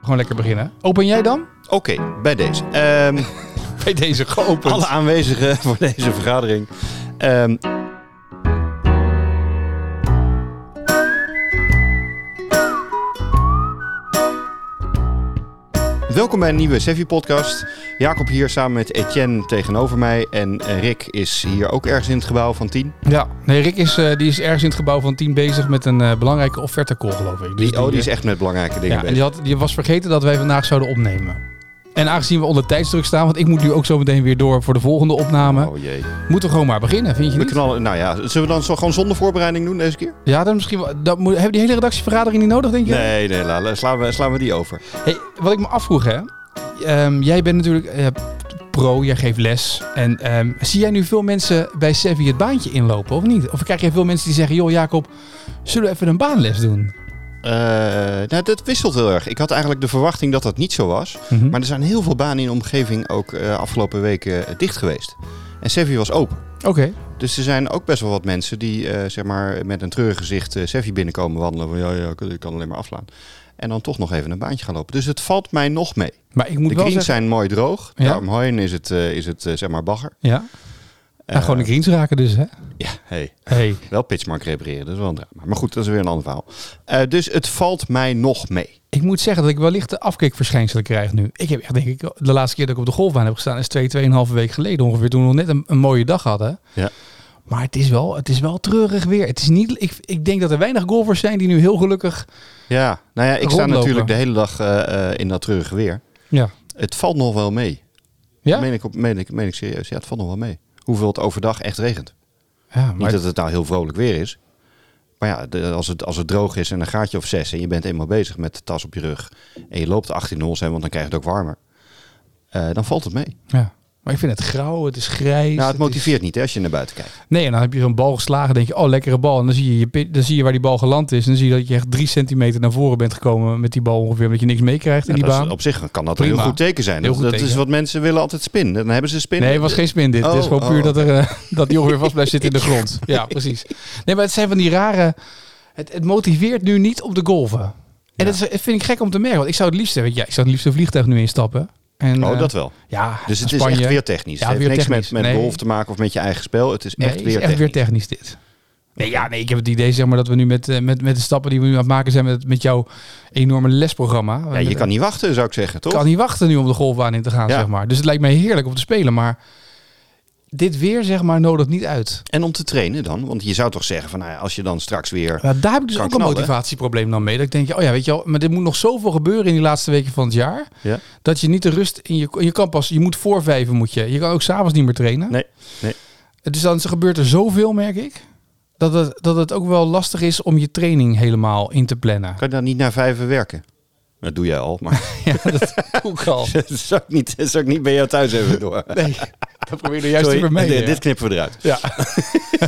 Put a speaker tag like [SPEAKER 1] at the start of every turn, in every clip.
[SPEAKER 1] Gewoon lekker beginnen. Open jij dan?
[SPEAKER 2] Oké, bij deze. Ehm,
[SPEAKER 1] Bij deze geopend.
[SPEAKER 2] alle aanwezigen voor deze vergadering. Ehm, Welkom bij een nieuwe Sevi-podcast. Jacob hier samen met Etienne tegenover mij. En eh, Rick is hier ook ergens in het gebouw van 10.
[SPEAKER 1] Ja, nee, Rick is, eh, die is ergens in het gebouw van 10 bezig met een eh, belangrijke offertecall, geloof ik. Dus
[SPEAKER 2] Die, oh, die is
[SPEAKER 1] eh,
[SPEAKER 2] echt met belangrijke dingen
[SPEAKER 1] ja, en
[SPEAKER 2] bezig.
[SPEAKER 1] die, had, die was vergeten dat wij vandaag zouden opnemen. En aangezien we onder tijdsdruk staan, want ik moet nu ook zo meteen weer door voor de volgende opname,
[SPEAKER 2] Oh jee.
[SPEAKER 1] moeten we gewoon maar beginnen, vind je
[SPEAKER 2] We
[SPEAKER 1] niet?
[SPEAKER 2] knallen, nou ja, zullen we dan zo gewoon zonder voorbereiding doen deze keer?
[SPEAKER 1] Ja, dan misschien wel. Dat moet, hebben die hele redactievergadering niet nodig, denk je?
[SPEAKER 2] Nee, nee, la- la- slaan, we, slaan we die over.
[SPEAKER 1] Hey, wat ik me afvroeg, hè. Ehm, jij bent natuurlijk eh, pro, jij geeft les. En ehm, zie jij nu veel mensen bij Sevi het baantje inlopen, of niet? Of krijg je veel mensen die zeggen, joh Jacob, zullen we even een baanles doen?
[SPEAKER 2] Eh, nou, dat wisselt heel erg. Ik had eigenlijk de verwachting dat dat niet zo was. Maar er zijn heel veel banen in de omgeving ook eh, afgelopen weken eh, dicht geweest. En Sevi was open.
[SPEAKER 1] Oké.
[SPEAKER 2] Dus er zijn ook best wel wat mensen die eh, zeg maar, met een treurig gezicht eh Sevi binnenkomen wandelen. Van ja, ja, ik- ik kan alleen maar afslaan. En dan toch nog even een baantje gaan lopen. Dus het valt mij nog mee.
[SPEAKER 1] Maar ik moet
[SPEAKER 2] De
[SPEAKER 1] wel
[SPEAKER 2] greens
[SPEAKER 1] zeggen...
[SPEAKER 2] zijn mooi droog.
[SPEAKER 1] Ja.
[SPEAKER 2] Daaromheen is het, eh, is het eh, zeg maar bagger.
[SPEAKER 1] Ja,
[SPEAKER 2] Eh,
[SPEAKER 1] Nou, gewoon de greens raken dus, hè?
[SPEAKER 2] Ja, hey.
[SPEAKER 1] Hey.
[SPEAKER 2] Wel pitchmark repareren, dat is wel een drama. Maar goed, dat is weer een ander verhaal. Eh, dus het valt mij nog mee.
[SPEAKER 1] Ik moet zeggen dat ik wellicht de afkikverschijnselen krijg nu. Ik heb echt, denk ik, de laatste keer dat ik op de golfbaan heb gestaan... is twee, tweeënhalve week geleden ongeveer, toen we nog net een, een mooie dag hadden.
[SPEAKER 2] Ja.
[SPEAKER 1] Maar het is wel, het is wel treurig weer. Het is niet, ik, ik denk dat er weinig golfers zijn die nu heel gelukkig...
[SPEAKER 2] Ja, nou ja, ik sta
[SPEAKER 1] Rondlopen.
[SPEAKER 2] natuurlijk de hele dag eh, eh, in dat treurige weer.
[SPEAKER 1] Ja.
[SPEAKER 2] Het valt nog wel mee.
[SPEAKER 1] Ja?
[SPEAKER 2] Meen, ik op, meen, ik, meen ik serieus. Ja, het valt nog wel mee. Hoeveel het overdag echt regent.
[SPEAKER 1] Ja, maar
[SPEAKER 2] Niet dat het nou heel vrolijk weer is. Maar ja, de- als, het, als het droog is en een gaatje of zes... en je bent eenmaal bezig met de tas op je rug... en je loopt 18 hols, hè, want dan krijg je het ook warmer... eh, dan valt het mee.
[SPEAKER 1] Ja. Maar ik vind het grauw, het is grijs.
[SPEAKER 2] nou, het
[SPEAKER 1] is-
[SPEAKER 2] motiveert niet hè, als je naar buiten kijkt.
[SPEAKER 1] Nee, en dan heb je zo'n bal geslagen, denk je, oh, lekkere bal. En dan zie je, je pit- dan zie je waar die bal geland is. En dan zie je dat je echt drie centimeter naar voren bent gekomen met die bal ongeveer, omdat je niks meekrijgt in
[SPEAKER 2] Ja,
[SPEAKER 1] die
[SPEAKER 2] dat is-
[SPEAKER 1] baan.
[SPEAKER 2] op zich kan dat een heel
[SPEAKER 1] Prima.
[SPEAKER 2] goed teken zijn.
[SPEAKER 1] Heel
[SPEAKER 2] dat
[SPEAKER 1] goed
[SPEAKER 2] dat is
[SPEAKER 1] teken.
[SPEAKER 2] wat mensen willen altijd spin. Dan hebben ze spin.
[SPEAKER 1] Nee, het was geen spin dit. het is
[SPEAKER 2] Oh,
[SPEAKER 1] gewoon puur
[SPEAKER 2] oh,
[SPEAKER 1] dat, er, eh, dat die ongeveer vast blijft zitten in de grond. Ja, precies. Nee, maar het zijn van die rare... Het, het motiveert nu niet op de golven. En
[SPEAKER 2] Ja.
[SPEAKER 1] dat, is, dat vind ik gek om te merken. Want ik zou het liefst, weet je, ik zou het liefst een vliegtuig nu instappen. En,
[SPEAKER 2] Oh,
[SPEAKER 1] eh,
[SPEAKER 2] dat wel.
[SPEAKER 1] Ja,
[SPEAKER 2] Dus het
[SPEAKER 1] Spanje.
[SPEAKER 2] is echt weer technisch.
[SPEAKER 1] Ja,
[SPEAKER 2] het heeft
[SPEAKER 1] weer
[SPEAKER 2] niks
[SPEAKER 1] technisch.
[SPEAKER 2] met, met
[SPEAKER 1] Nee.
[SPEAKER 2] golf te maken of met je eigen spel. Het is
[SPEAKER 1] Nee,
[SPEAKER 2] echt
[SPEAKER 1] het
[SPEAKER 2] weer
[SPEAKER 1] is echt
[SPEAKER 2] technisch.
[SPEAKER 1] weer technisch dit. Nee, ja, nee, ik heb het idee zeg maar, dat we nu met, eh, met, met de stappen die we nu aan het maken zijn met, met jouw enorme lesprogramma.
[SPEAKER 2] Ja, je kan niet wachten, zou ik zeggen, toch?
[SPEAKER 1] kan niet wachten nu om de golfbaan in te gaan,
[SPEAKER 2] Ja.
[SPEAKER 1] zeg maar. Dus het lijkt mij heerlijk om te spelen, maar dit weer zeg maar nodigt niet uit.
[SPEAKER 2] En om te trainen dan? Want je zou toch zeggen van, nou ja, als je dan straks weer...
[SPEAKER 1] Ja, daar heb ik dus
[SPEAKER 2] Kan
[SPEAKER 1] ook
[SPEAKER 2] knallen,
[SPEAKER 1] een
[SPEAKER 2] hè?
[SPEAKER 1] motivatieprobleem dan mee. Dat ik denk, oh ja, weet je wel, maar dit moet nog zoveel gebeuren in die laatste weken van het jaar.
[SPEAKER 2] Ja.
[SPEAKER 1] Dat je niet de rust in je... Je kan pas, je moet voor vijven moet je. Je kan ook s'avonds niet meer trainen.
[SPEAKER 2] Nee, nee.
[SPEAKER 1] Dus dan gebeurt er zoveel, merk ik. Dat het, dat het ook wel lastig is om je training helemaal in te plannen.
[SPEAKER 2] Kan je dan niet naar vijven werken? Dat doe jij al, maar
[SPEAKER 1] Ja, dat ook al.
[SPEAKER 2] dat zou ik niet, dat zou ik niet bij jou thuis even door.
[SPEAKER 1] Nee, dat probeer je juist
[SPEAKER 2] Sorry,
[SPEAKER 1] te vermijden.
[SPEAKER 2] dit,
[SPEAKER 1] ja.
[SPEAKER 2] dit knippen we eruit.
[SPEAKER 1] Ja.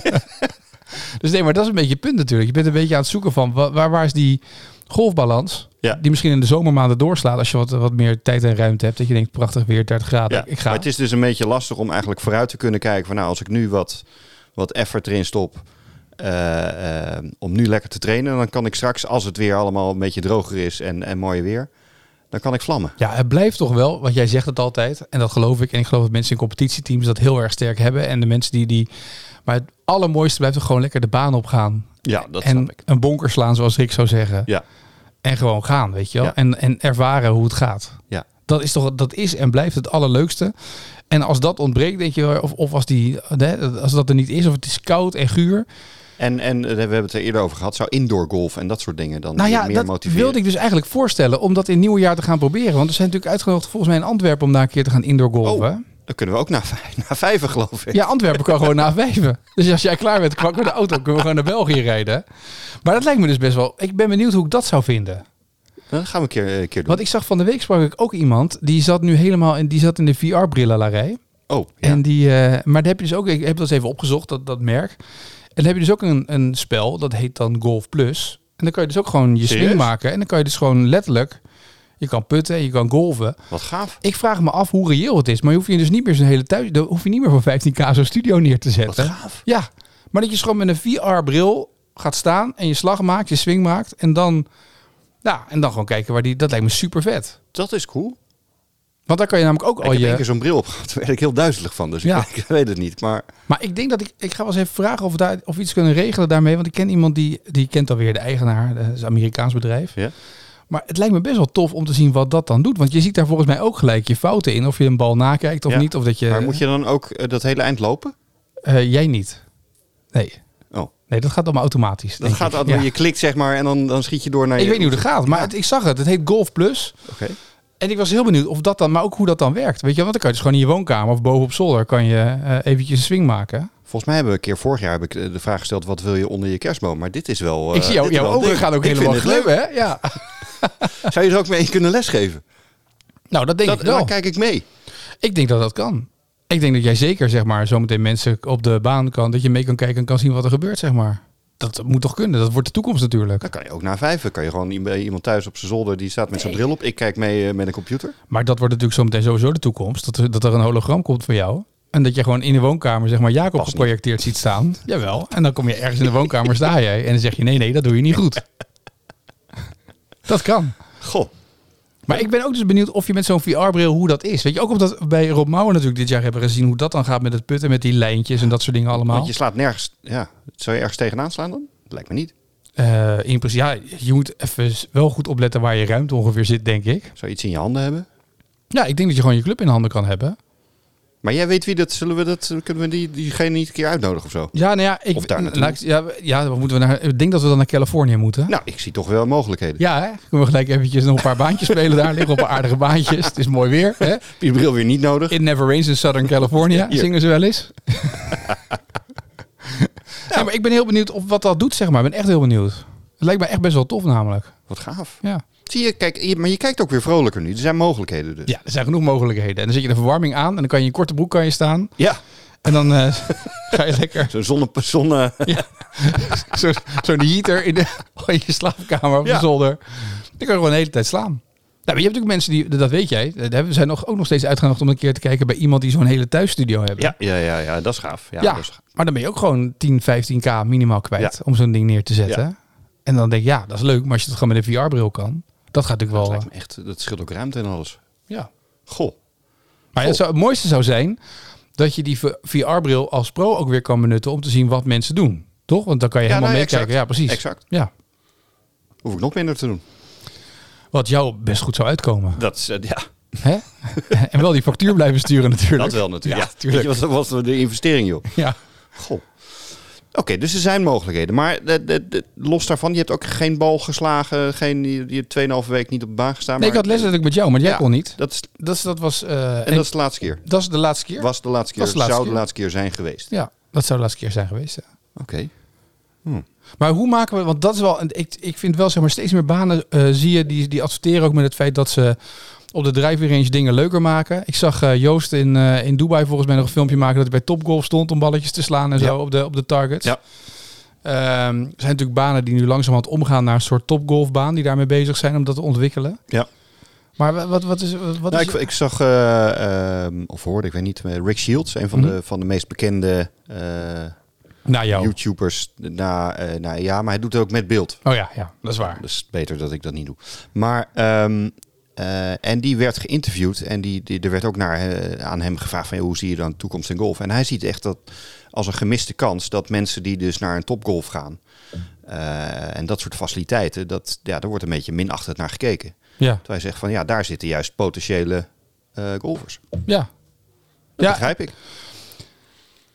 [SPEAKER 1] dus nee, maar dat is een beetje het punt natuurlijk. Je bent een beetje aan het zoeken van wa- waar, waar is die golfbalans?
[SPEAKER 2] Ja.
[SPEAKER 1] Die misschien in de zomermaanden doorslaat als je wat, wat meer tijd en ruimte hebt. Dat je denkt, prachtig weer, 30 graden,
[SPEAKER 2] Ja,
[SPEAKER 1] Ah, ik ga.
[SPEAKER 2] Maar het is dus een beetje lastig om eigenlijk vooruit te kunnen kijken van, nou, als ik nu wat, wat effort erin stop... eh, eh, om nu lekker te trainen, dan kan ik straks, als het weer allemaal een beetje droger is en, en mooi weer, dan kan ik vlammen.
[SPEAKER 1] Ja, het blijft toch wel, want jij zegt het altijd. En dat geloof ik. En ik geloof dat mensen in competitieteams dat heel erg sterk hebben. En de mensen die die... Maar het allermooiste blijft toch gewoon lekker de baan op gaan.
[SPEAKER 2] Ja, dat
[SPEAKER 1] en
[SPEAKER 2] snap ik.
[SPEAKER 1] een bonker slaan, zoals Rick zou zeggen.
[SPEAKER 2] Ja.
[SPEAKER 1] En gewoon gaan, weet je wel.
[SPEAKER 2] Ja.
[SPEAKER 1] En, en ervaren hoe het gaat.
[SPEAKER 2] Ja.
[SPEAKER 1] Dat is toch, dat is en blijft het allerleukste. En als dat ontbreekt, denk je, wel, of, of als, die, hè, als dat er niet is, of het is koud en guur.
[SPEAKER 2] En, en eh, we hebben het er eerder over gehad. Zou indoor golf en dat soort dingen dan
[SPEAKER 1] Nou
[SPEAKER 2] je
[SPEAKER 1] ja,
[SPEAKER 2] meer
[SPEAKER 1] dat
[SPEAKER 2] motiveren?
[SPEAKER 1] wilde ik dus eigenlijk voorstellen om dat in het nieuwe jaar te gaan proberen. Want we zijn natuurlijk uitgenodigd volgens mij in Antwerpen om daar een keer te gaan indoor golven.
[SPEAKER 2] Dan kunnen we ook naar, vij- naar vijven, geloof ik.
[SPEAKER 1] Ja, Antwerpen kan gewoon naar vijven. Dus als jij klaar bent, kwak met de auto, kunnen we gewoon naar België rijden. Maar dat lijkt me dus best wel. Ik ben benieuwd hoe ik dat zou vinden.
[SPEAKER 2] Dan gaan we een keer, eh, een keer doen.
[SPEAKER 1] Want ik zag van de week sprak ik ook iemand die zat nu helemaal in, die zat in de VR-brillenlarij.
[SPEAKER 2] Oh, ja.
[SPEAKER 1] En die, eh, maar daar heb je dus ook, ik heb dat eens even opgezocht, dat, dat merk. En dan heb je dus ook een, een spel, dat heet dan Golf Plus. En dan kan je dus ook gewoon je swing
[SPEAKER 2] Serieus?
[SPEAKER 1] maken. En dan kan je dus gewoon letterlijk, je kan putten, je kan golven.
[SPEAKER 2] wat gaaf.
[SPEAKER 1] Ik vraag me af hoe reëel het is. Maar je hoeft je dus niet meer zo'n hele thuis, dan hoef je niet meer voor 15k zo'n studio neer te
[SPEAKER 2] Wat
[SPEAKER 1] zetten.
[SPEAKER 2] gaaf.
[SPEAKER 1] Ja, maar dat je dus gewoon met een VR-bril gaat staan en je slag maakt, je swing maakt. En dan Nou, en dan gewoon kijken waar die. Dat lijkt me super vet.
[SPEAKER 2] Dat is cool.
[SPEAKER 1] Want daar kan je namelijk ook al
[SPEAKER 2] ik heb één
[SPEAKER 1] Oh, je.
[SPEAKER 2] keer zo'n bril op gehad. Daar werd ik heel duizelig van. Dus
[SPEAKER 1] Ja.
[SPEAKER 2] ik, ik weet het niet. Maar
[SPEAKER 1] Maar ik denk dat ik. Ik ga wel eens even vragen of we, daar, of we iets kunnen regelen daarmee. Want ik ken iemand die. Die kent alweer de eigenaar. Dat is een Amerikaans bedrijf.
[SPEAKER 2] Ja.
[SPEAKER 1] Maar het lijkt me best wel tof om te zien wat dat dan doet. Want je ziet daar volgens mij ook gelijk je fouten in. Of je een bal nakijkt of
[SPEAKER 2] Ja.
[SPEAKER 1] niet. Of dat je.
[SPEAKER 2] Maar moet je dan ook eh, dat hele eind lopen?
[SPEAKER 1] Eh, jij niet. Nee.
[SPEAKER 2] Oh.
[SPEAKER 1] Nee, dat gaat allemaal automatisch.
[SPEAKER 2] Dat gaat altijd,
[SPEAKER 1] automatisch.
[SPEAKER 2] je klikt zeg maar en dan, dan schiet je door naar
[SPEAKER 1] Ik
[SPEAKER 2] je...
[SPEAKER 1] weet niet hoe dat gaat, maar het- ik zag het. Het heet Golf Plus.
[SPEAKER 2] Oké.
[SPEAKER 1] En ik was heel benieuwd of dat dan, maar ook hoe dat dan werkt. Weet je, want dan kan je dus gewoon in je woonkamer of boven op zolder kan je eh, eventjes een swing maken.
[SPEAKER 2] Volgens mij hebben we een keer vorig jaar heb ik eh, de vraag gesteld wat wil je onder je kerstboom? Maar dit is wel... eh,
[SPEAKER 1] ik zie jou,
[SPEAKER 2] dit is
[SPEAKER 1] jouw
[SPEAKER 2] wel een
[SPEAKER 1] ogen
[SPEAKER 2] ding.
[SPEAKER 1] gaan ook
[SPEAKER 2] Ik
[SPEAKER 1] helemaal
[SPEAKER 2] vind het leuk.
[SPEAKER 1] glimmen, hè? Ja.
[SPEAKER 2] Zou je er ook mee kunnen lesgeven?
[SPEAKER 1] Nou, dat denk
[SPEAKER 2] Dat,
[SPEAKER 1] ik wel.
[SPEAKER 2] daar kijk ik mee.
[SPEAKER 1] Ik denk dat dat kan. Ik denk dat jij zeker, zeg maar, zometeen mensen op de baan kan, dat je mee kan kijken en kan zien wat er gebeurt, zeg maar. Dat moet toch kunnen? Dat wordt de toekomst natuurlijk.
[SPEAKER 2] Dan kan je ook na vijven. Kan je gewoon i- bij iemand thuis op zijn zolder die staat met zijn bril op. Ik kijk mee eh, met een computer.
[SPEAKER 1] Maar dat wordt natuurlijk zometeen sowieso de toekomst. Dat er, dat er een hologram komt van jou. En dat je gewoon in de woonkamer, zeg maar, Jacob
[SPEAKER 2] Past niet.
[SPEAKER 1] geprojecteerd ziet staan. Jawel. En dan kom je ergens in de woonkamer, sta jij. En dan zeg je, nee, nee, dat doe je niet goed. Dat kan.
[SPEAKER 2] Goh.
[SPEAKER 1] Maar ik ben ook dus benieuwd of je met zo'n VR-bril hoe dat is. Weet je, ook omdat we bij Rob Mouwen natuurlijk dit jaar hebben gezien hoe dat dan gaat met het putten, met die lijntjes en dat soort dingen allemaal.
[SPEAKER 2] Want je slaat nergens... Ja, zou je ergens tegenaan slaan dan? Dat lijkt me niet.
[SPEAKER 1] Eh, in principe, ja, je moet even wel goed opletten waar je ruimte ongeveer zit, denk ik.
[SPEAKER 2] Zou je iets in je handen hebben?
[SPEAKER 1] Ja, ik denk dat je gewoon je club in handen kan hebben.
[SPEAKER 2] Maar jij weet wie dat... Zullen we dat... Kunnen we die, diegene niet een keer uitnodigen of zo?
[SPEAKER 1] Ja, nou ja, ik,
[SPEAKER 2] Of daar naartoe.
[SPEAKER 1] laat ik- ja, we- ja, dan moeten we naar, ik denk dat we dan naar Californië moeten.
[SPEAKER 2] Nou, ik zie toch wel mogelijkheden.
[SPEAKER 1] Ja, hè? kunnen we gelijk eventjes nog een paar baantjes spelen daar. Liggen op een aardige baantjes. Het is mooi weer. Hè?
[SPEAKER 2] Heb je bril weer niet nodig?
[SPEAKER 1] It never rains in Southern California,
[SPEAKER 2] Hier.
[SPEAKER 1] zingen ze wel eens. ja, maar ik ben heel benieuwd of wat dat doet, zeg maar. Ik ben echt heel benieuwd. Het lijkt me echt best wel tof namelijk.
[SPEAKER 2] Wat gaaf.
[SPEAKER 1] Ja.
[SPEAKER 2] Zie je, kijk, je- maar je kijkt ook weer vrolijker nu. Er zijn mogelijkheden dus.
[SPEAKER 1] ja, er zijn genoeg mogelijkheden. En dan zet je de verwarming aan en dan kan je in korte broek kan je staan.
[SPEAKER 2] Ja,
[SPEAKER 1] En dan eh, ga je lekker
[SPEAKER 2] zo'n zonne... zonne
[SPEAKER 1] zo- zo'n heater in, de, in je slaapkamer op de
[SPEAKER 2] Ja.
[SPEAKER 1] zolder. Dan kan je gewoon de hele tijd slaan. Nou, maar je hebt natuurlijk mensen die, dat weet jij, eh, daar zijn nog, ook nog steeds uitgenodigd om een keer te kijken bij iemand die zo'n hele thuisstudio hebben.
[SPEAKER 2] ja. ja, ja, ja, dat is gaaf. Ja,
[SPEAKER 1] Ja,
[SPEAKER 2] Dat is gaaf.
[SPEAKER 1] maar dan ben je ook gewoon 10, 15k minimaal kwijt
[SPEAKER 2] Ja.
[SPEAKER 1] om zo'n ding neer te zetten. En dan denk je, ja, dat is leuk, maar als je het gewoon met een VR-bril kan, dat gaat natuurlijk
[SPEAKER 2] dat
[SPEAKER 1] wel.
[SPEAKER 2] lijkt me echt... Dat scheelt ook ruimte en alles.
[SPEAKER 1] eh, ja.
[SPEAKER 2] Goh.
[SPEAKER 1] Maar ja, het, zou- het mooiste zou zijn dat je die VR-bril als pro ook weer kan benutten om te zien wat mensen doen. Toch? Want dan kan je
[SPEAKER 2] Ja,
[SPEAKER 1] helemaal
[SPEAKER 2] nou,
[SPEAKER 1] meekijken.
[SPEAKER 2] exact.
[SPEAKER 1] Ja, precies.
[SPEAKER 2] Exact.
[SPEAKER 1] Ja.
[SPEAKER 2] Hoef ik nog minder te doen.
[SPEAKER 1] Wat jou best goed zou uitkomen.
[SPEAKER 2] Dat is... eh, ja.
[SPEAKER 1] Hè? en wel die factuur blijven sturen natuurlijk.
[SPEAKER 2] Dat wel natuurlijk.
[SPEAKER 1] Ja,
[SPEAKER 2] Ja,
[SPEAKER 1] tuurlijk.
[SPEAKER 2] Weet je, wat was de investering, joh?
[SPEAKER 1] Ja.
[SPEAKER 2] Goh. Oké, dus er zijn mogelijkheden. Maar de, de, de- los daarvan, je hebt ook geen bal geslagen. Geen, je je hebt 2,5 week niet op de baan gestaan.
[SPEAKER 1] Nee, ik
[SPEAKER 2] maar-
[SPEAKER 1] had les natuurlijk met jou, maar jij
[SPEAKER 2] Ja,
[SPEAKER 1] kon niet.
[SPEAKER 2] Dat is, en,
[SPEAKER 1] Dat, is- dat was... eh, en,
[SPEAKER 2] dat is de laatste keer.
[SPEAKER 1] dat is de laatste keer?
[SPEAKER 2] Was de laatste keer.
[SPEAKER 1] Was de laatste
[SPEAKER 2] zou
[SPEAKER 1] keer.
[SPEAKER 2] de laatste keer zijn geweest.
[SPEAKER 1] Ja, dat zou de laatste keer zijn geweest. ja.
[SPEAKER 2] Oké.
[SPEAKER 1] Maar hoe maken we, want dat is wel, en ik, ik vind wel zeg maar steeds meer banen eh, zie je die, die adverteren ook met het feit dat ze op de driving range dingen leuker maken. Ik zag eh, Joost in, eh, in Dubai volgens mij nog een filmpje maken dat hij bij Topgolf stond om balletjes te slaan en zo
[SPEAKER 2] Ja.
[SPEAKER 1] op de, op de targets.
[SPEAKER 2] Ja.
[SPEAKER 1] Ehm, er zijn natuurlijk banen die nu langzamerhand omgaan naar een soort topgolfbaan die daarmee bezig zijn om dat te ontwikkelen.
[SPEAKER 2] Ja.
[SPEAKER 1] Maar wa- wat, wat is... Wat
[SPEAKER 2] Nou,
[SPEAKER 1] is
[SPEAKER 2] ik, ik zag, eh, ehm, of hoorde, ik weet niet, eh, Rick Shields, een van,
[SPEAKER 1] Mhm.
[SPEAKER 2] de, van de meest bekende eh,
[SPEAKER 1] nou, jou.
[SPEAKER 2] YouTubers. Na, eh, na, ja, maar hij doet het ook met beeld.
[SPEAKER 1] Oh ja, ja, dat is waar.
[SPEAKER 2] Dus beter dat ik dat niet doe. Maar, ehm, eh, en die werd geïnterviewd en die, die, er werd ook naar, eh, aan hem gevraagd van, "Joh, hoe zie je dan de toekomst in golf? En hij ziet echt dat als een gemiste kans dat mensen die dus naar een topgolf gaan eh, en dat soort faciliteiten, dat, ja, daar wordt een beetje minachtend naar gekeken.
[SPEAKER 1] Ja,
[SPEAKER 2] Terwijl hij zegt van, ja, daar zitten juist potentiële eh, golfers.
[SPEAKER 1] ja.
[SPEAKER 2] Dat
[SPEAKER 1] Ja.
[SPEAKER 2] begrijp ik.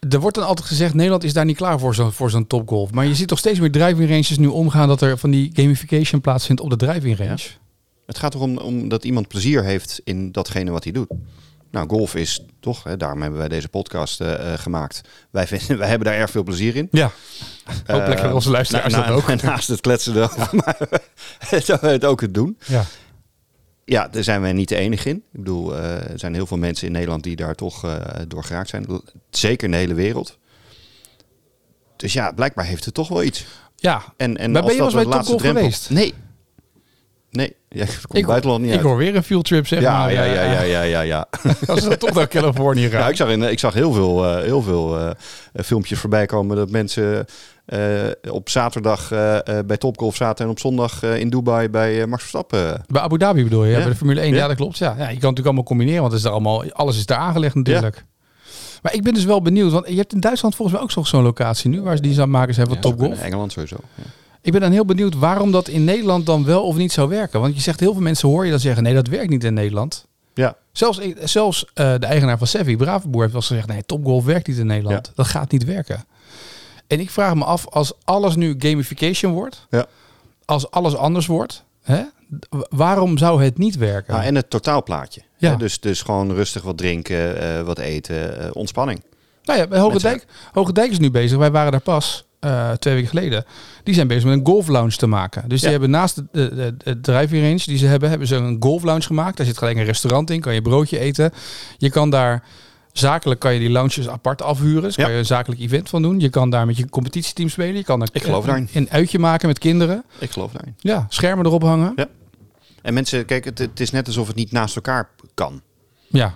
[SPEAKER 1] Er wordt dan altijd gezegd, Nederland is daar niet klaar voor zo'n voor zo'n topgolf. Maar je ziet toch steeds meer driving ranges nu omgaan dat er van die gamification plaatsvindt op de driving range.
[SPEAKER 2] Het gaat erom om dat iemand plezier heeft in datgene wat hij doet. Nou, golf is toch, hè, daarom hebben wij deze podcast eh, eh, gemaakt. Wij, vinden, wij hebben daar erg veel plezier in.
[SPEAKER 1] Ja. Ook lekker voor onze
[SPEAKER 2] Eh,
[SPEAKER 1] luisteraars
[SPEAKER 2] na- na-
[SPEAKER 1] dat ook.
[SPEAKER 2] na- Naast het kletsen erover, maar het, het ook het doen.
[SPEAKER 1] Ja.
[SPEAKER 2] Ja, daar zijn wij niet de enige in. Ik bedoel, eh, er zijn heel veel mensen in Nederland die daar toch eh, door geraakt zijn. L- Zeker in de hele wereld. Dus ja, blijkbaar heeft het toch wel iets.
[SPEAKER 1] ja.
[SPEAKER 2] En, en
[SPEAKER 1] Maar
[SPEAKER 2] als
[SPEAKER 1] ben je wel
[SPEAKER 2] dat
[SPEAKER 1] eens bij
[SPEAKER 2] de laatste
[SPEAKER 1] Topgolf
[SPEAKER 2] drempel-
[SPEAKER 1] geweest?
[SPEAKER 2] Nee. Nee, ja, ik kom
[SPEAKER 1] Ik-
[SPEAKER 2] ik, buitenland niet
[SPEAKER 1] Ik
[SPEAKER 2] uit.
[SPEAKER 1] hoor weer een field trip zeg
[SPEAKER 2] ja,
[SPEAKER 1] maar. eh,
[SPEAKER 2] ja, ja, ja, ja, ja, Nou, ja.
[SPEAKER 1] Als ze dan toch naar Californië gaan.
[SPEAKER 2] Ja, ik zag, in, ik zag heel veel, eh, heel veel eh, eh, filmpjes voorbij komen dat mensen eh, op zaterdag eh, eh, bij Topgolf zaten en op zondag eh, in Dubai bij eh, Max Verstappen.
[SPEAKER 1] Bij Abu Dhabi bedoel je, ja,
[SPEAKER 2] Ja.
[SPEAKER 1] bij de Formule 1. Ja,
[SPEAKER 2] Ja.
[SPEAKER 1] dat klopt. Ja. ja, je kan het natuurlijk allemaal combineren, want het is daar allemaal, alles is daar aangelegd natuurlijk. Maar ik ben dus wel benieuwd, want je hebt in Duitsland volgens mij ook nog zo'n locatie nu, waar ze die zaakmakers hebben
[SPEAKER 3] Ja,
[SPEAKER 1] van Top
[SPEAKER 2] In
[SPEAKER 1] Golf.
[SPEAKER 2] Engeland sowieso. Ja.
[SPEAKER 1] Ik ben dan heel benieuwd waarom dat in Nederland dan wel of niet zou werken. Want je zegt, heel veel mensen hoor je dan zeggen, nee, dat werkt niet in Nederland.
[SPEAKER 2] Ja.
[SPEAKER 1] Zelfs, zelfs eh, de eigenaar van Sevi, Bravenboer, heeft wel eens gezegd, nee, topgolf werkt niet in Nederland. Dat gaat niet werken. En ik vraag me af, als alles nu gamification wordt,
[SPEAKER 2] Ja.
[SPEAKER 1] als alles anders wordt, hè, w- waarom zou het niet werken?
[SPEAKER 2] Ah, en het totaalplaatje.
[SPEAKER 1] Ja.
[SPEAKER 2] Hè, dus, dus gewoon rustig wat drinken, eh, wat eten, eh, ontspanning.
[SPEAKER 1] Nou ja, bij Hoge Dijk, Hoge Dijk is nu bezig. Wij waren daar pas eh, twee weken geleden. Die zijn bezig met een golf lounge te maken. Dus die
[SPEAKER 2] Ja.
[SPEAKER 1] hebben naast de, de, de, de driving range die ze hebben, hebben ze een golf lounge gemaakt. Daar zit gelijk een restaurant in, kan je broodje eten. Je kan daar zakelijk kan je die lounges apart afhuren. Dus
[SPEAKER 2] Ja.
[SPEAKER 1] kan je een zakelijk event van doen. Je kan daar met je competitieteam spelen. Je kan daar
[SPEAKER 2] Ik geloof
[SPEAKER 1] een,
[SPEAKER 2] daarin.
[SPEAKER 1] een uitje maken met kinderen.
[SPEAKER 2] Ik geloof daarin.
[SPEAKER 1] Ja, schermen erop hangen.
[SPEAKER 2] Ja. En mensen, kijk, het, het is net alsof het niet naast elkaar kan.
[SPEAKER 1] Ja.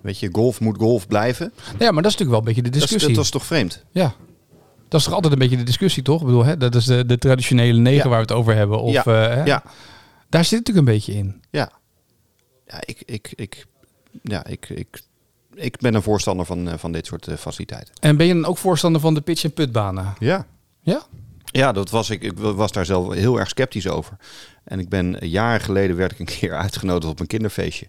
[SPEAKER 2] Weet je, golf moet golf blijven.
[SPEAKER 1] ja, maar dat is natuurlijk wel een beetje de
[SPEAKER 2] Dat is,
[SPEAKER 1] discussie.
[SPEAKER 2] dat is toch vreemd?
[SPEAKER 1] Ja. Dat is toch altijd een beetje de discussie, toch? Ik bedoel, hè, dat is de, de traditionele negen
[SPEAKER 2] Ja.
[SPEAKER 1] waar we het over hebben. Of,
[SPEAKER 2] Ja.
[SPEAKER 1] eh, hè?
[SPEAKER 2] Ja.
[SPEAKER 1] Daar zit het natuurlijk een beetje in.
[SPEAKER 2] Ja, ja, ik, ik, ik, ja ik, ik, ik ben een voorstander van, eh, van dit soort eh, faciliteiten.
[SPEAKER 1] En ben je dan ook voorstander van de pitch- en putbanen?
[SPEAKER 2] Ja.
[SPEAKER 1] Ja?
[SPEAKER 2] Ja, dat was ik. Ik was daar zelf heel erg sceptisch over. En ik ben eh, jaren geleden werd ik een keer uitgenodigd op een kinderfeestje.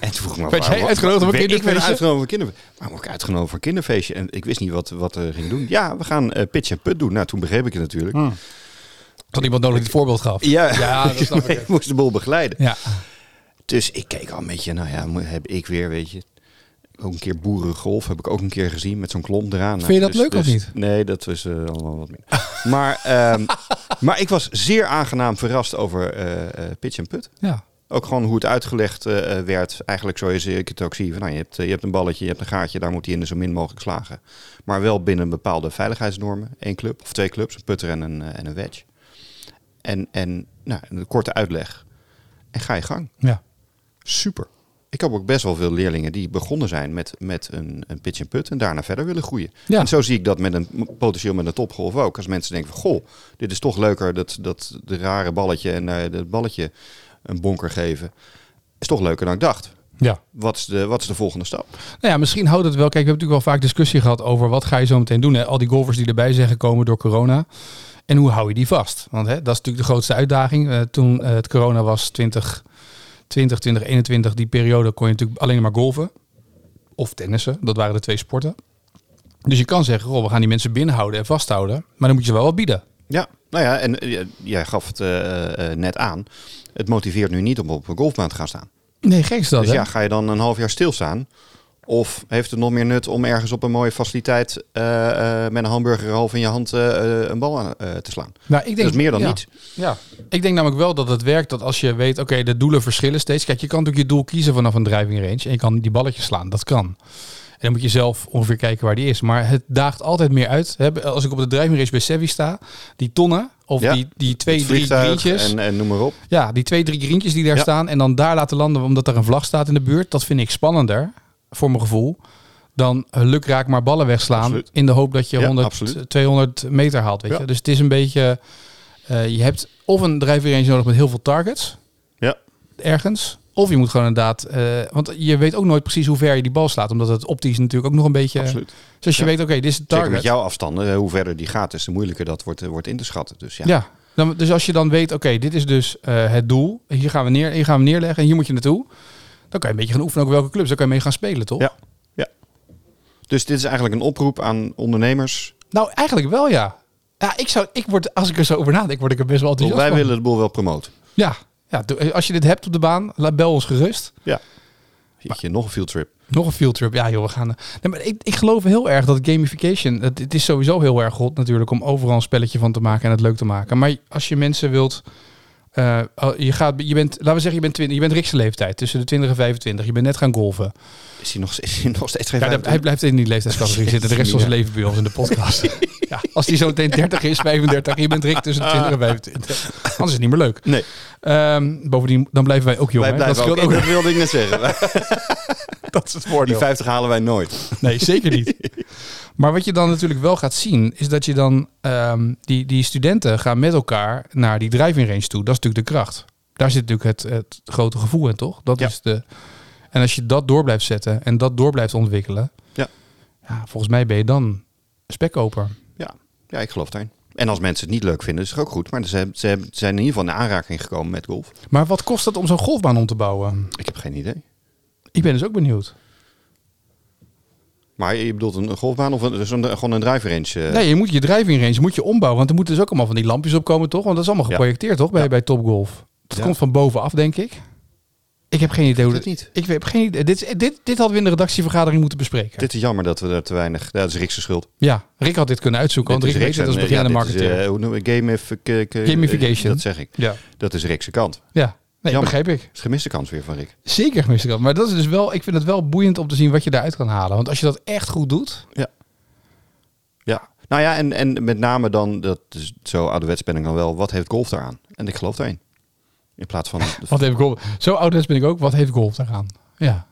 [SPEAKER 2] En toen vroeg ik me
[SPEAKER 1] Werd jij
[SPEAKER 2] waarom-
[SPEAKER 1] uitgenodigd op een
[SPEAKER 2] Ik werd- Ik
[SPEAKER 1] kinderfeestje?
[SPEAKER 2] werd uitgenodigd op een kinderfeestje. Waarom word ik uitgenodigd voor een kinderfeestje? En ik wist niet wat, wat er ging doen. Ja, we gaan eh, pitch en put doen. Nou, toen begreep ik het natuurlijk.
[SPEAKER 1] Hmm. Dat iemand nodig dit voorbeeld gaf.
[SPEAKER 2] Ja,
[SPEAKER 1] Ja, dat snap ik.
[SPEAKER 2] ik moest de boel begeleiden.
[SPEAKER 1] Ja.
[SPEAKER 2] Dus ik keek al een beetje, nou ja, mo- heb ik weer, weet je. Ook een keer boerengolf heb ik ook een keer gezien met zo'n klomp eraan.
[SPEAKER 1] Vind je dat
[SPEAKER 2] Dus-
[SPEAKER 1] leuk of
[SPEAKER 2] dus-
[SPEAKER 1] niet?
[SPEAKER 2] Nee, dat was eh, allemaal wat minder. maar, ehm, maar ik was zeer aangenaam verrast over eh, eh, pitch en put.
[SPEAKER 1] ja.
[SPEAKER 2] Ook gewoon hoe het uitgelegd eh, eh, werd. Eigenlijk zoals ik het ook zie. Van, nou, je, hebt, eh, je hebt een balletje, je hebt een gaatje, daar moet hij in de zo min mogelijk slagen. Maar wel binnen bepaalde veiligheidsnormen. Eén club of twee clubs, een putter en een, eh, en een wedge. En, en nou, een korte uitleg. En ga je gang.
[SPEAKER 1] ja.
[SPEAKER 2] Super. Ik heb ook best wel veel leerlingen die begonnen zijn met, met een, een pitch en put en daarna verder willen groeien.
[SPEAKER 1] Ja.
[SPEAKER 2] En zo zie ik dat met een, potentieel met een topgolf ook. Als mensen denken van, goh, dit is toch leuker dat, dat de rare balletje en eh dat balletje een bonker geven. Is toch leuker dan ik dacht.
[SPEAKER 1] Ja.
[SPEAKER 2] Wat is de, wat is de volgende stap?
[SPEAKER 1] Nou ja, misschien houdt het wel. Kijk, we hebben natuurlijk wel vaak discussie gehad over wat ga je zo meteen doen. Hè? Al die golfers die erbij zijn gekomen door corona. En hoe hou je die vast? Want hè, dat is natuurlijk de grootste uitdaging. Eh, toen eh, het corona was 20, 20, 2021, die periode kon je natuurlijk alleen maar golven. Of tennissen, dat waren de twee sporten. Dus je kan zeggen, goh, we gaan die mensen binnenhouden en vasthouden. Maar dan moet je ze wel wat bieden.
[SPEAKER 2] Ja, nou ja, en eh, jij gaf het eh, eh, net aan. Het motiveert nu niet om op een golfbaan te gaan staan.
[SPEAKER 1] Nee, gek is dat,
[SPEAKER 2] Dus
[SPEAKER 1] hè?
[SPEAKER 2] ja, ga je dan een half jaar stilstaan? Of heeft het nog meer nut om ergens op een mooie faciliteit eh, eh, met een hamburger half in je hand eh, eh, een bal aan, eh, te slaan?
[SPEAKER 1] Nou, ik denk,
[SPEAKER 2] Dat is meer dan
[SPEAKER 1] ja.
[SPEAKER 2] niet.
[SPEAKER 1] Ja, ik denk namelijk wel dat het werkt dat als je weet, oké, de doelen verschillen steeds. Kijk, je kan natuurlijk je doel kiezen vanaf een driving range en je kan die balletjes slaan, dat kan. En dan moet je zelf ongeveer kijken waar die is. Maar het daagt altijd meer uit. Hè, Als ik op de driving range bij Sevi sta, die tonnen of
[SPEAKER 2] Ja,
[SPEAKER 1] die, die twee,
[SPEAKER 2] Het
[SPEAKER 1] drie
[SPEAKER 2] vliegtuig
[SPEAKER 1] greentjes.
[SPEAKER 2] en, en noem maar op.
[SPEAKER 1] Ja, die twee, drie greentjes die daar
[SPEAKER 2] Ja.
[SPEAKER 1] staan en dan daar laten landen omdat er een vlag staat in de buurt. Dat vind ik spannender, voor mijn gevoel, dan eh, lukraak maar ballen wegslaan
[SPEAKER 2] Absoluut.
[SPEAKER 1] in de hoop dat je
[SPEAKER 2] Ja,
[SPEAKER 1] 100,
[SPEAKER 2] absoluut.
[SPEAKER 1] 200 meter haalt. Weet
[SPEAKER 2] Ja.
[SPEAKER 1] je? Dus het is een beetje, eh, je hebt of een driving range nodig met heel veel targets
[SPEAKER 2] Ja.
[SPEAKER 1] ergens. Of je moet gewoon inderdaad, eh, want je weet ook nooit precies hoe ver je die bal slaat. Omdat het optisch natuurlijk ook nog een beetje...
[SPEAKER 2] Absoluut.
[SPEAKER 1] Dus als je
[SPEAKER 2] Ja.
[SPEAKER 1] weet, oké, dit is het
[SPEAKER 2] Zeker
[SPEAKER 1] target.
[SPEAKER 2] met jouw afstanden, eh, hoe verder die gaat, is de moeilijker dat wordt, eh, wordt in te schatten. Dus ja,
[SPEAKER 1] Ja. Dan, dus als je dan weet, oké, dit is dus eh, het doel. Hier gaan, we neer, hier gaan we neerleggen en hier moet je naartoe. Dan kan je een beetje gaan oefenen ook welke clubs. Dan kan je mee gaan spelen, toch?
[SPEAKER 2] Ja. Dus dit is eigenlijk een oproep aan ondernemers.
[SPEAKER 1] Nou, eigenlijk wel, ja. Ja, ik zou, ik word, als ik er zo over nadenk, word ik er best wel enthousiast
[SPEAKER 2] Wij
[SPEAKER 1] van.
[SPEAKER 2] willen de boel wel promoten.
[SPEAKER 1] Ja. ja, doe- als je dit hebt op de baan, laat bel ons gerust.
[SPEAKER 2] Ja. Jeetje, nog een fieldtrip.
[SPEAKER 1] Nog een fieldtrip. Ja joh, we gaan... eh, Nee, maar ik, ik geloof heel erg dat gamification... Het, het is sowieso heel erg hot natuurlijk om overal een spelletje van te maken en het leuk te maken. Maar als je mensen wilt... eh, oh, je, gaat, je bent, laten we zeggen, je bent, 20, je bent Rick's leeftijd. Tussen de 20 en 25. Je bent net gaan golfen.
[SPEAKER 2] Is hij nog, is hij nog steeds geen
[SPEAKER 1] Ja, dat- hij blijft in die leeftijdscategorie zitten. De rest van zijn leven bij ons in de podcast. Ja, als hij zo meteen 30 is, 35. Je bent Rick tussen de 20 en 25. Anders is het niet meer leuk.
[SPEAKER 2] Nee,
[SPEAKER 1] Ehm, bovendien, dan blijven wij ook jong.
[SPEAKER 2] wij
[SPEAKER 1] hè?
[SPEAKER 2] blijven ook.
[SPEAKER 1] scheelt
[SPEAKER 2] Dat wilde ik net zeggen. Wij-
[SPEAKER 1] Dat is het voordeel.
[SPEAKER 2] Die 50 halen wij nooit.
[SPEAKER 1] Nee, zeker niet. Maar wat je dan natuurlijk wel gaat zien, is dat je dan ehm, die, die studenten gaan met elkaar naar die driving range toe. Dat is natuurlijk de kracht. Daar zit natuurlijk het, het grote gevoel in, toch? Dat
[SPEAKER 2] Ja.
[SPEAKER 1] is de. En als je dat door blijft zetten en dat door blijft ontwikkelen,
[SPEAKER 2] Ja.
[SPEAKER 1] ja, volgens mij ben je dan spekkoper.
[SPEAKER 2] Ja, ik geloof daarin. En als mensen het niet leuk vinden, is het ook goed. Maar ze, ze hebben- zijn in ieder geval in aanraking gekomen met golf.
[SPEAKER 1] Maar wat kost het om zo'n golfbaan om te bouwen?
[SPEAKER 2] Ik heb geen idee.
[SPEAKER 1] Ik ben dus ook benieuwd.
[SPEAKER 2] Maar je bedoelt een golfbaan of een, zo'n- gewoon een drive range? eh?
[SPEAKER 1] Nee, je moet je driving range moet je ombouwen. Want er moeten dus ook allemaal van die lampjes op komen, toch? Want dat is allemaal
[SPEAKER 2] Ja.
[SPEAKER 1] geprojecteerd, toch? Bij, bij Top Golf. Dat
[SPEAKER 2] Ja.
[SPEAKER 1] komt van bovenaf, denk ik. Ik heb geen idee hoe
[SPEAKER 2] weet het niet.
[SPEAKER 1] Ik heb geen idee. Dit, is- dit, dit hadden we in de redactievergadering moeten bespreken.
[SPEAKER 2] Dit is jammer dat we daar te weinig... Ja, dat is Rick's schuld.
[SPEAKER 1] Ja, Rick had dit kunnen uitzoeken, want
[SPEAKER 2] Dit
[SPEAKER 1] Rick
[SPEAKER 2] is
[SPEAKER 1] weet het als
[SPEAKER 2] en, eh, ja,
[SPEAKER 1] beginnende
[SPEAKER 2] dit is,
[SPEAKER 1] marketeer.
[SPEAKER 2] eh, hoe noem ik- gamifi- ke- ke-
[SPEAKER 1] Gamification.
[SPEAKER 2] Dat zeg ik.
[SPEAKER 1] ja,
[SPEAKER 2] Dat is Rick's kant. Dat
[SPEAKER 1] ja. Nee,
[SPEAKER 2] Jammer.
[SPEAKER 1] begrijp ik.
[SPEAKER 2] is gemiste kans weer van Rick.
[SPEAKER 1] Zeker gemist ik dat. Maar dat is dus wel, ik vind het wel boeiend om te zien wat je daaruit kan halen. Want als je dat echt goed doet,
[SPEAKER 2] Ja. Nou ja, en, en met name dan, dat is zo ouderwets ben ik dan wel, wat heeft golf daaraan? En ik geloof daarin. In plaats van,
[SPEAKER 1] wat heeft golf? Zo oud ben ik ook, wat heeft golf daaraan? Ja,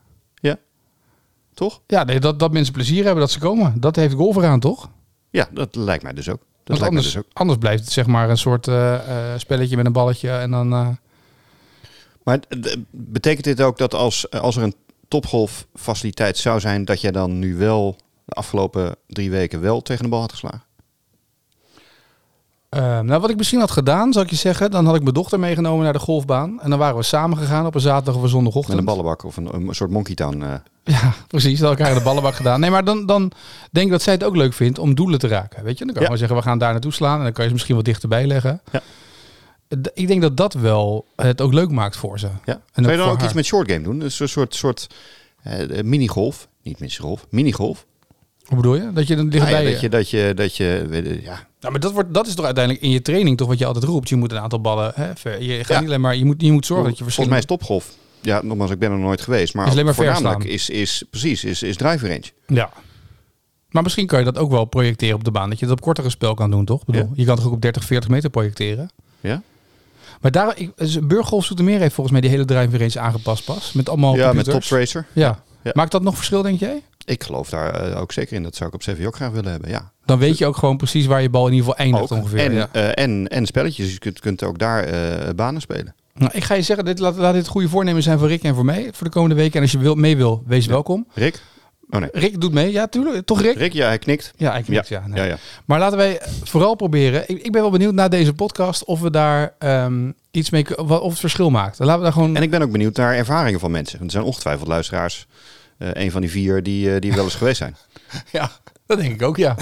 [SPEAKER 2] toch?
[SPEAKER 1] ja nee, dat, dat mensen plezier hebben dat ze komen. Dat heeft golf eraan, toch?
[SPEAKER 2] Ja, dat lijkt mij dus ook. Dat
[SPEAKER 1] Want
[SPEAKER 2] lijkt mij
[SPEAKER 1] anders,
[SPEAKER 2] dus ook.
[SPEAKER 1] anders blijft het zeg maar een soort eh, eh, spelletje met een balletje. En dan, eh,
[SPEAKER 2] Maar d- d- betekent dit ook dat als, eh, als er een topgolffaciliteit zou zijn, dat jij dan nu wel de afgelopen drie weken wel tegen de bal had geslagen?
[SPEAKER 1] eh, nou, wat ik misschien had gedaan, zal ik je zeggen. Dan had ik mijn dochter meegenomen naar de golfbaan. En dan waren we samen gegaan op een zaterdag of een zondagochtend.
[SPEAKER 2] Met een ballenbak of een, een soort monkey town. eh.
[SPEAKER 1] Ja, precies. Dat had elkaar in de ballenbak gedaan. Nee, maar dan, dan denk ik dat zij het ook leuk vindt om doelen te raken. Weet je, dan kan je
[SPEAKER 2] Ja.
[SPEAKER 1] gewoon zeggen, we gaan daar naartoe slaan. En dan kan je ze misschien wat dichterbij leggen.
[SPEAKER 2] Ja.
[SPEAKER 1] D- Ik denk dat dat wel het ook leuk maakt voor ze.
[SPEAKER 2] Ja.
[SPEAKER 1] En
[SPEAKER 2] Zou je
[SPEAKER 1] ook
[SPEAKER 2] dan
[SPEAKER 1] voor
[SPEAKER 2] ook iets
[SPEAKER 1] haar.
[SPEAKER 2] met short game doen? Dus een soort, soort eh, minigolf. Niet minigolf, minigolf.
[SPEAKER 1] Hoe bedoel je? Dat je dan
[SPEAKER 2] Ah,
[SPEAKER 1] dichterbij...
[SPEAKER 2] ja, dat je, dat je, dat je, weet je, ja,
[SPEAKER 1] Nou, maar dat, wordt, dat is toch uiteindelijk in je training toch wat je altijd roept. Je moet een aantal ballen... Hè, ver- je gaat
[SPEAKER 2] Ja.
[SPEAKER 1] niet alleen maar... Je moet, je moet zorgen dat je
[SPEAKER 2] Volgens mij
[SPEAKER 1] verschillende...
[SPEAKER 2] is topgolf. Ja, nogmaals, ik ben er nooit geweest. Maar
[SPEAKER 1] Is alleen maar
[SPEAKER 2] voornamelijk
[SPEAKER 1] verslaan.
[SPEAKER 2] is, is, precies, is, is driver range.
[SPEAKER 1] Ja. Maar misschien kan je dat ook wel projecteren op de baan. Dat je dat op kortere spel kan doen, toch? Ik Bedoel,
[SPEAKER 2] Ja.
[SPEAKER 1] Je kan toch ook op 30, 40 meter projecteren?
[SPEAKER 2] Ja,
[SPEAKER 1] Maar daar, ik, dus Burgolf Zoetermeer heeft volgens mij die hele driver eens aangepast pas. Met allemaal
[SPEAKER 2] ja met top
[SPEAKER 1] computers.
[SPEAKER 2] tracer.
[SPEAKER 1] ja.
[SPEAKER 2] Ja.
[SPEAKER 1] Maakt dat nog verschil, denk jij?
[SPEAKER 2] Ik geloof daar eh, ook zeker in. Dat zou ik op CV ook graag willen hebben. Ja,
[SPEAKER 1] Dan weet je ook gewoon precies waar je bal in ieder geval eindigt
[SPEAKER 2] Ook.
[SPEAKER 1] ongeveer.
[SPEAKER 2] en,
[SPEAKER 1] ja.
[SPEAKER 2] eh, en, en spelletjes. Dus je kunt, kunt ook daar eh, banen spelen.
[SPEAKER 1] nou, ik ga je zeggen, dit, laat, laat dit goede voornemen zijn voor Rick en voor mij voor de komende weken. En als je wil, mee wil, wees welkom.
[SPEAKER 2] Rick? Oh nee.
[SPEAKER 1] Rick doet mee, ja tuurlijk. Toch Rick?
[SPEAKER 2] Rick, ja, hij knikt.
[SPEAKER 1] Ja, ik
[SPEAKER 2] Ja,
[SPEAKER 1] niks, ja. nee.
[SPEAKER 2] ja, ja.
[SPEAKER 1] Maar laten wij vooral proberen. Ik, ik ben wel benieuwd na deze podcast of we daar ehm, iets mee, kun- wat- of het verschil maakt. Laten we daar gewoon.
[SPEAKER 2] En ik ben ook benieuwd naar ervaringen van mensen. Want er zijn ongetwijfeld luisteraars. eh, een van die vier die, eh, die wel eens geweest zijn.
[SPEAKER 1] Ja, dat denk ik ook, ja.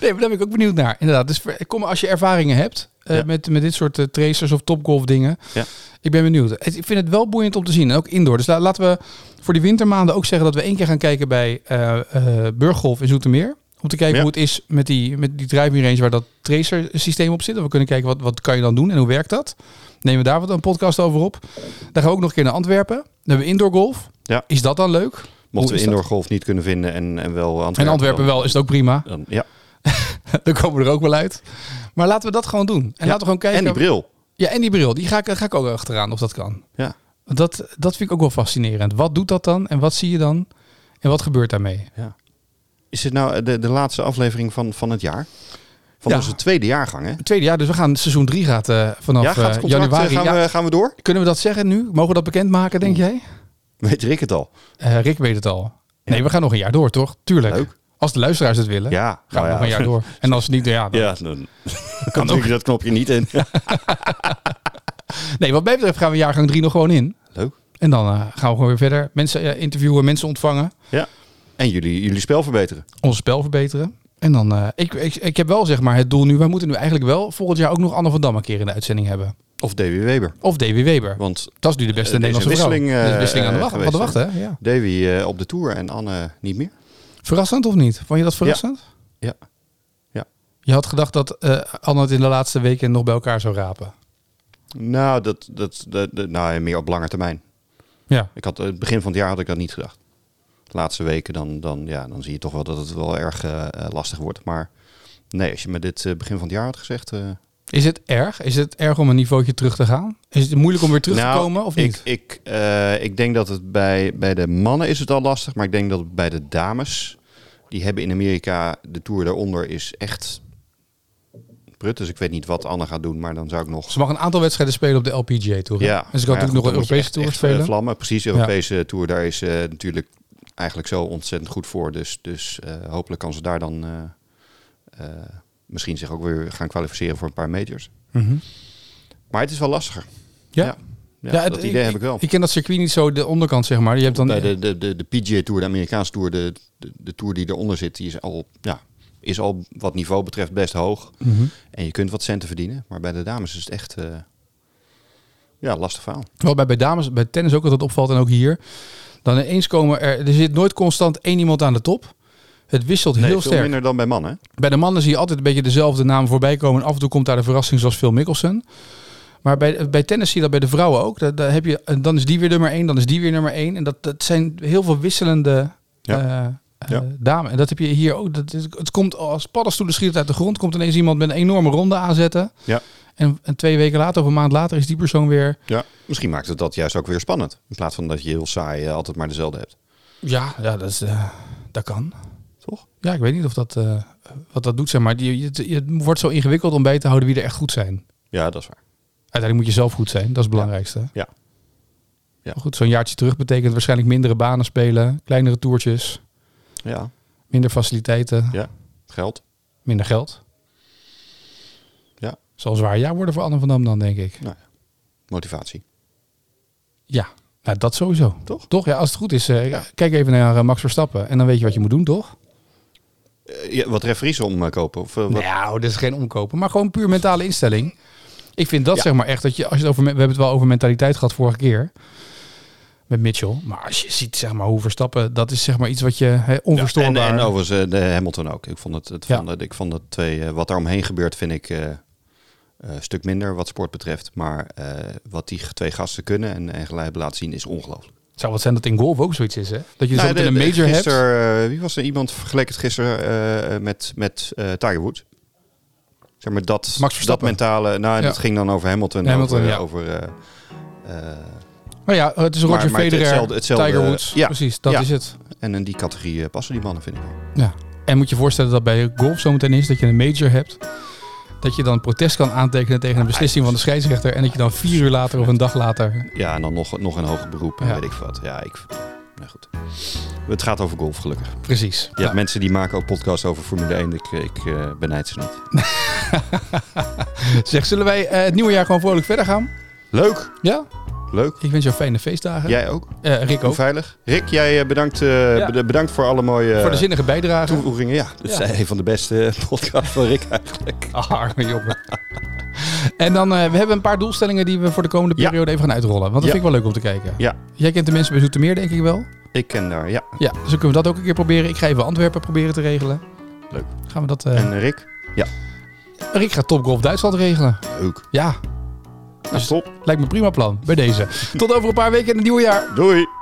[SPEAKER 1] nee, maar daar ben ik ook benieuwd naar. Inderdaad. Dus ver- kom als je ervaringen hebt eh,
[SPEAKER 2] Ja.
[SPEAKER 1] met, met dit soort eh, tracers of topgolf dingen.
[SPEAKER 2] Ja.
[SPEAKER 1] Ik ben benieuwd. Het- Ik vind het wel boeiend om te zien. En ook indoor. Dus la- laten we voor die wintermaanden ook zeggen dat we één keer gaan kijken bij eh, eh, Burggolf in Zoetermeer. Om te kijken
[SPEAKER 2] Ja.
[SPEAKER 1] hoe het is met die, met die driving range waar dat tracer systeem op zit. En we kunnen kijken wat, wat kan je dan doen en hoe werkt dat. Nemen we daar wat een podcast over op. Dan gaan we ook nog een keer naar Antwerpen. Dan hebben we indoor golf.
[SPEAKER 2] Ja.
[SPEAKER 1] Is dat dan leuk?
[SPEAKER 2] Mochten
[SPEAKER 1] is
[SPEAKER 2] we
[SPEAKER 1] dat?
[SPEAKER 2] indoor golf niet kunnen vinden en, en wel Antwerpen.
[SPEAKER 1] En Antwerpen wel is het ook prima.
[SPEAKER 2] Dan, dan- ja.
[SPEAKER 1] Dan komen we er ook wel uit. Maar laten we dat gewoon doen. En laten we gewoon kijken.
[SPEAKER 2] En die bril.
[SPEAKER 1] ja, en die bril. Die ga ik, ga ik ook achteraan of dat kan.
[SPEAKER 2] Ja.
[SPEAKER 1] Want Dat, dat vind ik ook wel fascinerend. Wat doet dat dan? En wat zie je dan? En wat gebeurt daarmee?
[SPEAKER 2] Is dit nou de, de laatste aflevering van, van het jaar? Van
[SPEAKER 1] Ja.
[SPEAKER 2] onze tweede jaargang, hè?
[SPEAKER 1] Het tweede jaar, dus we gaan seizoen 3 gaat eh, vanaf
[SPEAKER 2] ja, gaat het
[SPEAKER 1] eh,
[SPEAKER 2] contract,
[SPEAKER 1] januari.
[SPEAKER 2] eh, Gaan,
[SPEAKER 1] Ja,
[SPEAKER 2] we, gaan we door?
[SPEAKER 1] kunnen we dat zeggen nu? Mogen we dat bekendmaken, denk jij?
[SPEAKER 2] Weet Rick het al?
[SPEAKER 1] Eh, Rick weet het al. Nee, we gaan nog een jaar door, toch? Tuurlijk.
[SPEAKER 2] Leuk.
[SPEAKER 1] Als de luisteraars het willen,
[SPEAKER 2] Ja.
[SPEAKER 1] gaan
[SPEAKER 2] nou
[SPEAKER 1] we
[SPEAKER 2] ja.
[SPEAKER 1] nog een jaar door. En als niet, ja, dan
[SPEAKER 2] Ja, dan, dan druk je dat knopje niet in.
[SPEAKER 1] Nee, wat mij betreft gaan we jaargang 3 nog gewoon in.
[SPEAKER 2] Leuk.
[SPEAKER 1] En dan eh, gaan we gewoon weer verder. Mensen eh, interviewen, mensen ontvangen.
[SPEAKER 2] En jullie, jullie spel verbeteren.
[SPEAKER 1] Ons spel verbeteren. En dan, eh, ik, ik, ik heb wel zeg maar het doel nu. Wij moeten nu eigenlijk wel volgend jaar ook nog Anne van Dam een keer in de uitzending hebben.
[SPEAKER 2] Of DW Weber.
[SPEAKER 1] Of DW Weber.
[SPEAKER 2] Want
[SPEAKER 1] Dat is nu de beste
[SPEAKER 2] Eh, er is
[SPEAKER 1] Nederlandse
[SPEAKER 2] een
[SPEAKER 1] vrouw.
[SPEAKER 2] wisseling,
[SPEAKER 1] Er is
[SPEAKER 2] eh,
[SPEAKER 1] wisseling aan de
[SPEAKER 2] eh,
[SPEAKER 1] wacht, aan de
[SPEAKER 2] geweest,
[SPEAKER 1] wacht hè? Ja.
[SPEAKER 2] DW eh, op de tour en Anne niet meer.
[SPEAKER 1] Verrassend of niet? Vond je dat verrassend?
[SPEAKER 2] Ja. Ja.
[SPEAKER 1] Je had gedacht dat eh, Anne het in de laatste weken nog bij elkaar zou rapen.
[SPEAKER 2] Nou, dat, dat, dat, dat- nou, ja, meer op lange termijn.
[SPEAKER 1] Ja.
[SPEAKER 2] Ik had, eh, het begin van het jaar had ik dat niet gedacht. De laatste weken, dan, dan, ja, dan zie je toch wel dat het wel erg eh, eh, lastig wordt. Maar nee, als je me dit eh, begin van het jaar had gezegd, eh,
[SPEAKER 1] Is het erg? Is het erg om een niveautje terug te gaan? Is het moeilijk om weer terug te komen of niet?
[SPEAKER 2] Nou, Ik, ik, eh, ik denk dat het bij, bij de mannen is het al lastig, maar ik denk dat het bij de dames, die hebben in Amerika de tour daaronder is echt prut. Dus ik weet niet wat Anne gaat doen, maar dan zou ik nog.
[SPEAKER 1] Ze mag een aantal wedstrijden spelen op de LPGA Tour. hè? en ze kan
[SPEAKER 2] maar ja,
[SPEAKER 1] natuurlijk nog
[SPEAKER 2] goed,
[SPEAKER 1] een
[SPEAKER 2] dan moet je
[SPEAKER 1] Europese
[SPEAKER 2] echt-
[SPEAKER 1] Tour
[SPEAKER 2] echt, eh,
[SPEAKER 1] spelen.
[SPEAKER 2] Vlammen, precies. De Europese tour daar is eh, natuurlijk eigenlijk zo ontzettend goed voor. Dus, dus eh, hopelijk kan ze daar dan eh, eh, misschien zich ook weer gaan kwalificeren voor een paar majors.
[SPEAKER 1] Mhm.
[SPEAKER 2] Maar het is wel lastiger.
[SPEAKER 1] Ja.
[SPEAKER 2] Ja,
[SPEAKER 1] Ja, het-
[SPEAKER 2] dat idee heb ik wel.
[SPEAKER 1] Ik ken dat circuit niet zo, de onderkant zeg maar. Je hebt dan,
[SPEAKER 2] Bij de, de, de, de PGA Tour, de Amerikaanse Tour, de, de, de Tour die eronder zit, die is al, ja, is al wat niveau betreft best hoog.
[SPEAKER 1] Mhm.
[SPEAKER 2] En je kunt wat centen verdienen. Maar bij de dames is het echt eh, ja, lastig verhaal.
[SPEAKER 1] Wat bij, bij dames, bij tennis ook altijd opvalt en ook hier. Dan ineens komen er, er zit nooit constant één iemand aan de top. Het wisselt
[SPEAKER 2] Nee,
[SPEAKER 1] heel
[SPEAKER 2] veel
[SPEAKER 1] sterk.
[SPEAKER 2] minder dan bij mannen.
[SPEAKER 1] Bij de mannen zie je altijd een beetje dezelfde naam voorbij komen. En af en toe komt daar de verrassing zoals Phil Mickelson. Maar bij, bij tennis zie je dat bij de vrouwen ook. Daar, daar heb je, en dan is die weer nummer één, dan is die weer nummer één. En dat, dat zijn heel veel wisselende
[SPEAKER 2] Ja.
[SPEAKER 1] eh, eh,
[SPEAKER 2] Ja.
[SPEAKER 1] dames. En dat heb je hier ook. Dat, is- het komt als paddenstoelen schiet uit de grond. Komt ineens iemand met een enorme ronde aanzetten.
[SPEAKER 2] Ja.
[SPEAKER 1] En, en twee weken later of een maand later is die persoon weer...
[SPEAKER 2] Ja. Misschien maakt het dat juist ook weer spannend. In plaats van dat je heel saai eh, altijd maar dezelfde hebt.
[SPEAKER 1] Ja, ja dat, is, eh, dat kan.
[SPEAKER 2] Toch?
[SPEAKER 1] Ja, ik weet niet of dat, eh, wat dat doet. Zeg maar Die- het, het wordt zo ingewikkeld om bij te houden wie er echt goed zijn.
[SPEAKER 2] Ja, dat is waar.
[SPEAKER 1] Uiteindelijk moet je zelf goed zijn. Dat is het belangrijkste.
[SPEAKER 2] Ja. Ja.
[SPEAKER 1] Maar goed, zo'n jaartje terug betekent waarschijnlijk mindere banen spelen, kleinere toertjes,
[SPEAKER 2] Ja,
[SPEAKER 1] minder faciliteiten,
[SPEAKER 2] ja. geld.
[SPEAKER 1] minder geld.
[SPEAKER 2] Ja.
[SPEAKER 1] Zal een zwaar jaar worden voor Anne van Dam dan, denk ik.
[SPEAKER 2] Nou, ja. motivatie.
[SPEAKER 1] Ja, nou, dat sowieso.
[SPEAKER 2] Toch?
[SPEAKER 1] Toch? Ja, als het goed is, eh,
[SPEAKER 2] Ja.
[SPEAKER 1] kijk even naar eh, Max Verstappen en dan weet je wat je moet doen, toch?
[SPEAKER 2] Eh, ja, wat referees omkopen? Of, eh, wat...
[SPEAKER 1] Nou, dat is geen omkopen, maar gewoon puur mentale instelling. Ik vind dat
[SPEAKER 2] Ja.
[SPEAKER 1] zeg maar echt dat je, als je het over, me- we hebben het wel over mentaliteit gehad vorige keer met Mitchell, maar als je ziet zeg maar hoe verstappen, dat is zeg maar iets wat je hè, onverstoorbaar.
[SPEAKER 2] En, en overigens eh, de Hamilton ook. Ik vond het, het
[SPEAKER 1] Ja.
[SPEAKER 2] van, de- ik vond het twee, eh, wat daar omheen gebeurt, vind ik eh, eh, een stuk minder wat sport betreft. Maar eh, wat die g- twee gasten kunnen en, en gelijk hebben laten zien, is ongelooflijk.
[SPEAKER 1] Het zou wat zijn dat in golf ook zoiets is, hè? Dat je zo
[SPEAKER 2] Nou,
[SPEAKER 1] meteen
[SPEAKER 2] de-
[SPEAKER 1] een
[SPEAKER 2] de-
[SPEAKER 1] major hebt.
[SPEAKER 2] gisteren, eh, wie was er? Iemand vergeleek het gisteren eh, met, met eh, Tiger Woods. Zeg maar dat,
[SPEAKER 1] Max
[SPEAKER 2] dat
[SPEAKER 1] Verstappen.
[SPEAKER 2] mentale. Nou, en
[SPEAKER 1] Ja.
[SPEAKER 2] dat ging dan over Hamilton. en
[SPEAKER 1] Hamilton,
[SPEAKER 2] over,
[SPEAKER 1] ja.
[SPEAKER 2] over eh, eh,
[SPEAKER 1] Maar ja, het is Roger
[SPEAKER 2] Maar- maar het-
[SPEAKER 1] Federer,
[SPEAKER 2] hetzelfde- hetzelfde-
[SPEAKER 1] Tiger Woods.
[SPEAKER 2] ja.
[SPEAKER 1] Precies, dat
[SPEAKER 2] Ja.
[SPEAKER 1] is het.
[SPEAKER 2] en in die categorie eh, passen die mannen, vind ik. wel.
[SPEAKER 1] Ja. En moet je voorstellen dat bij golf zometeen is dat je een major hebt. Dat je dan protest kan aantekenen tegen een beslissing van de scheidsrechter. En dat je dan vier uur later of een dag later.
[SPEAKER 2] Ja, en dan nog, nog een hoger beroep en
[SPEAKER 1] Ja.
[SPEAKER 2] weet ik wat. Ja, ik... Nou goed. Het gaat over golf, gelukkig.
[SPEAKER 1] Precies.
[SPEAKER 2] Je hebt mensen die maken ook podcasts over Formule 1. Ik, ik eh, benijd ze niet.
[SPEAKER 1] Zeg, zullen wij eh, het nieuwe jaar gewoon vrolijk verder gaan?
[SPEAKER 2] Leuk,
[SPEAKER 1] Ja?
[SPEAKER 2] leuk.
[SPEAKER 1] Ik wens jou fijne feestdagen.
[SPEAKER 2] Jij ook.
[SPEAKER 1] Eh, Rick ook.
[SPEAKER 2] Hoe veilig. Rick, jij eh, bedankt, eh,
[SPEAKER 1] Ja.
[SPEAKER 2] bed- bedankt voor alle mooie
[SPEAKER 1] Voor de
[SPEAKER 2] eh,
[SPEAKER 1] zinnige bijdrage.
[SPEAKER 2] toevoegingen. Ja, dit
[SPEAKER 1] Ja.
[SPEAKER 2] zijn een van de beste eh, podcasts van Rick eigenlijk.
[SPEAKER 1] Ah, arme jongen. en dan, eh, we hebben een paar doelstellingen die we voor de komende
[SPEAKER 2] Ja.
[SPEAKER 1] periode even gaan uitrollen. Want dat
[SPEAKER 2] Ja.
[SPEAKER 1] vind ik wel leuk om te kijken.
[SPEAKER 2] Ja.
[SPEAKER 1] Jij kent de mensen bij Zoetermeer, denk ik wel.
[SPEAKER 2] Ik ken daar, ja.
[SPEAKER 1] Ja, dus dan kunnen we dat ook een keer proberen. Ik ga even Antwerpen proberen te regelen.
[SPEAKER 2] Leuk.
[SPEAKER 1] Gaan we dat... eh,
[SPEAKER 2] En eh, Rick,
[SPEAKER 1] Rick gaat Topgolf Duitsland regelen.
[SPEAKER 2] leuk.
[SPEAKER 1] Ja,
[SPEAKER 2] Nou, top.
[SPEAKER 1] Dus- lijkt me een prima plan. Bij deze. Tot over een paar weken in het nieuwe jaar.
[SPEAKER 2] Doei.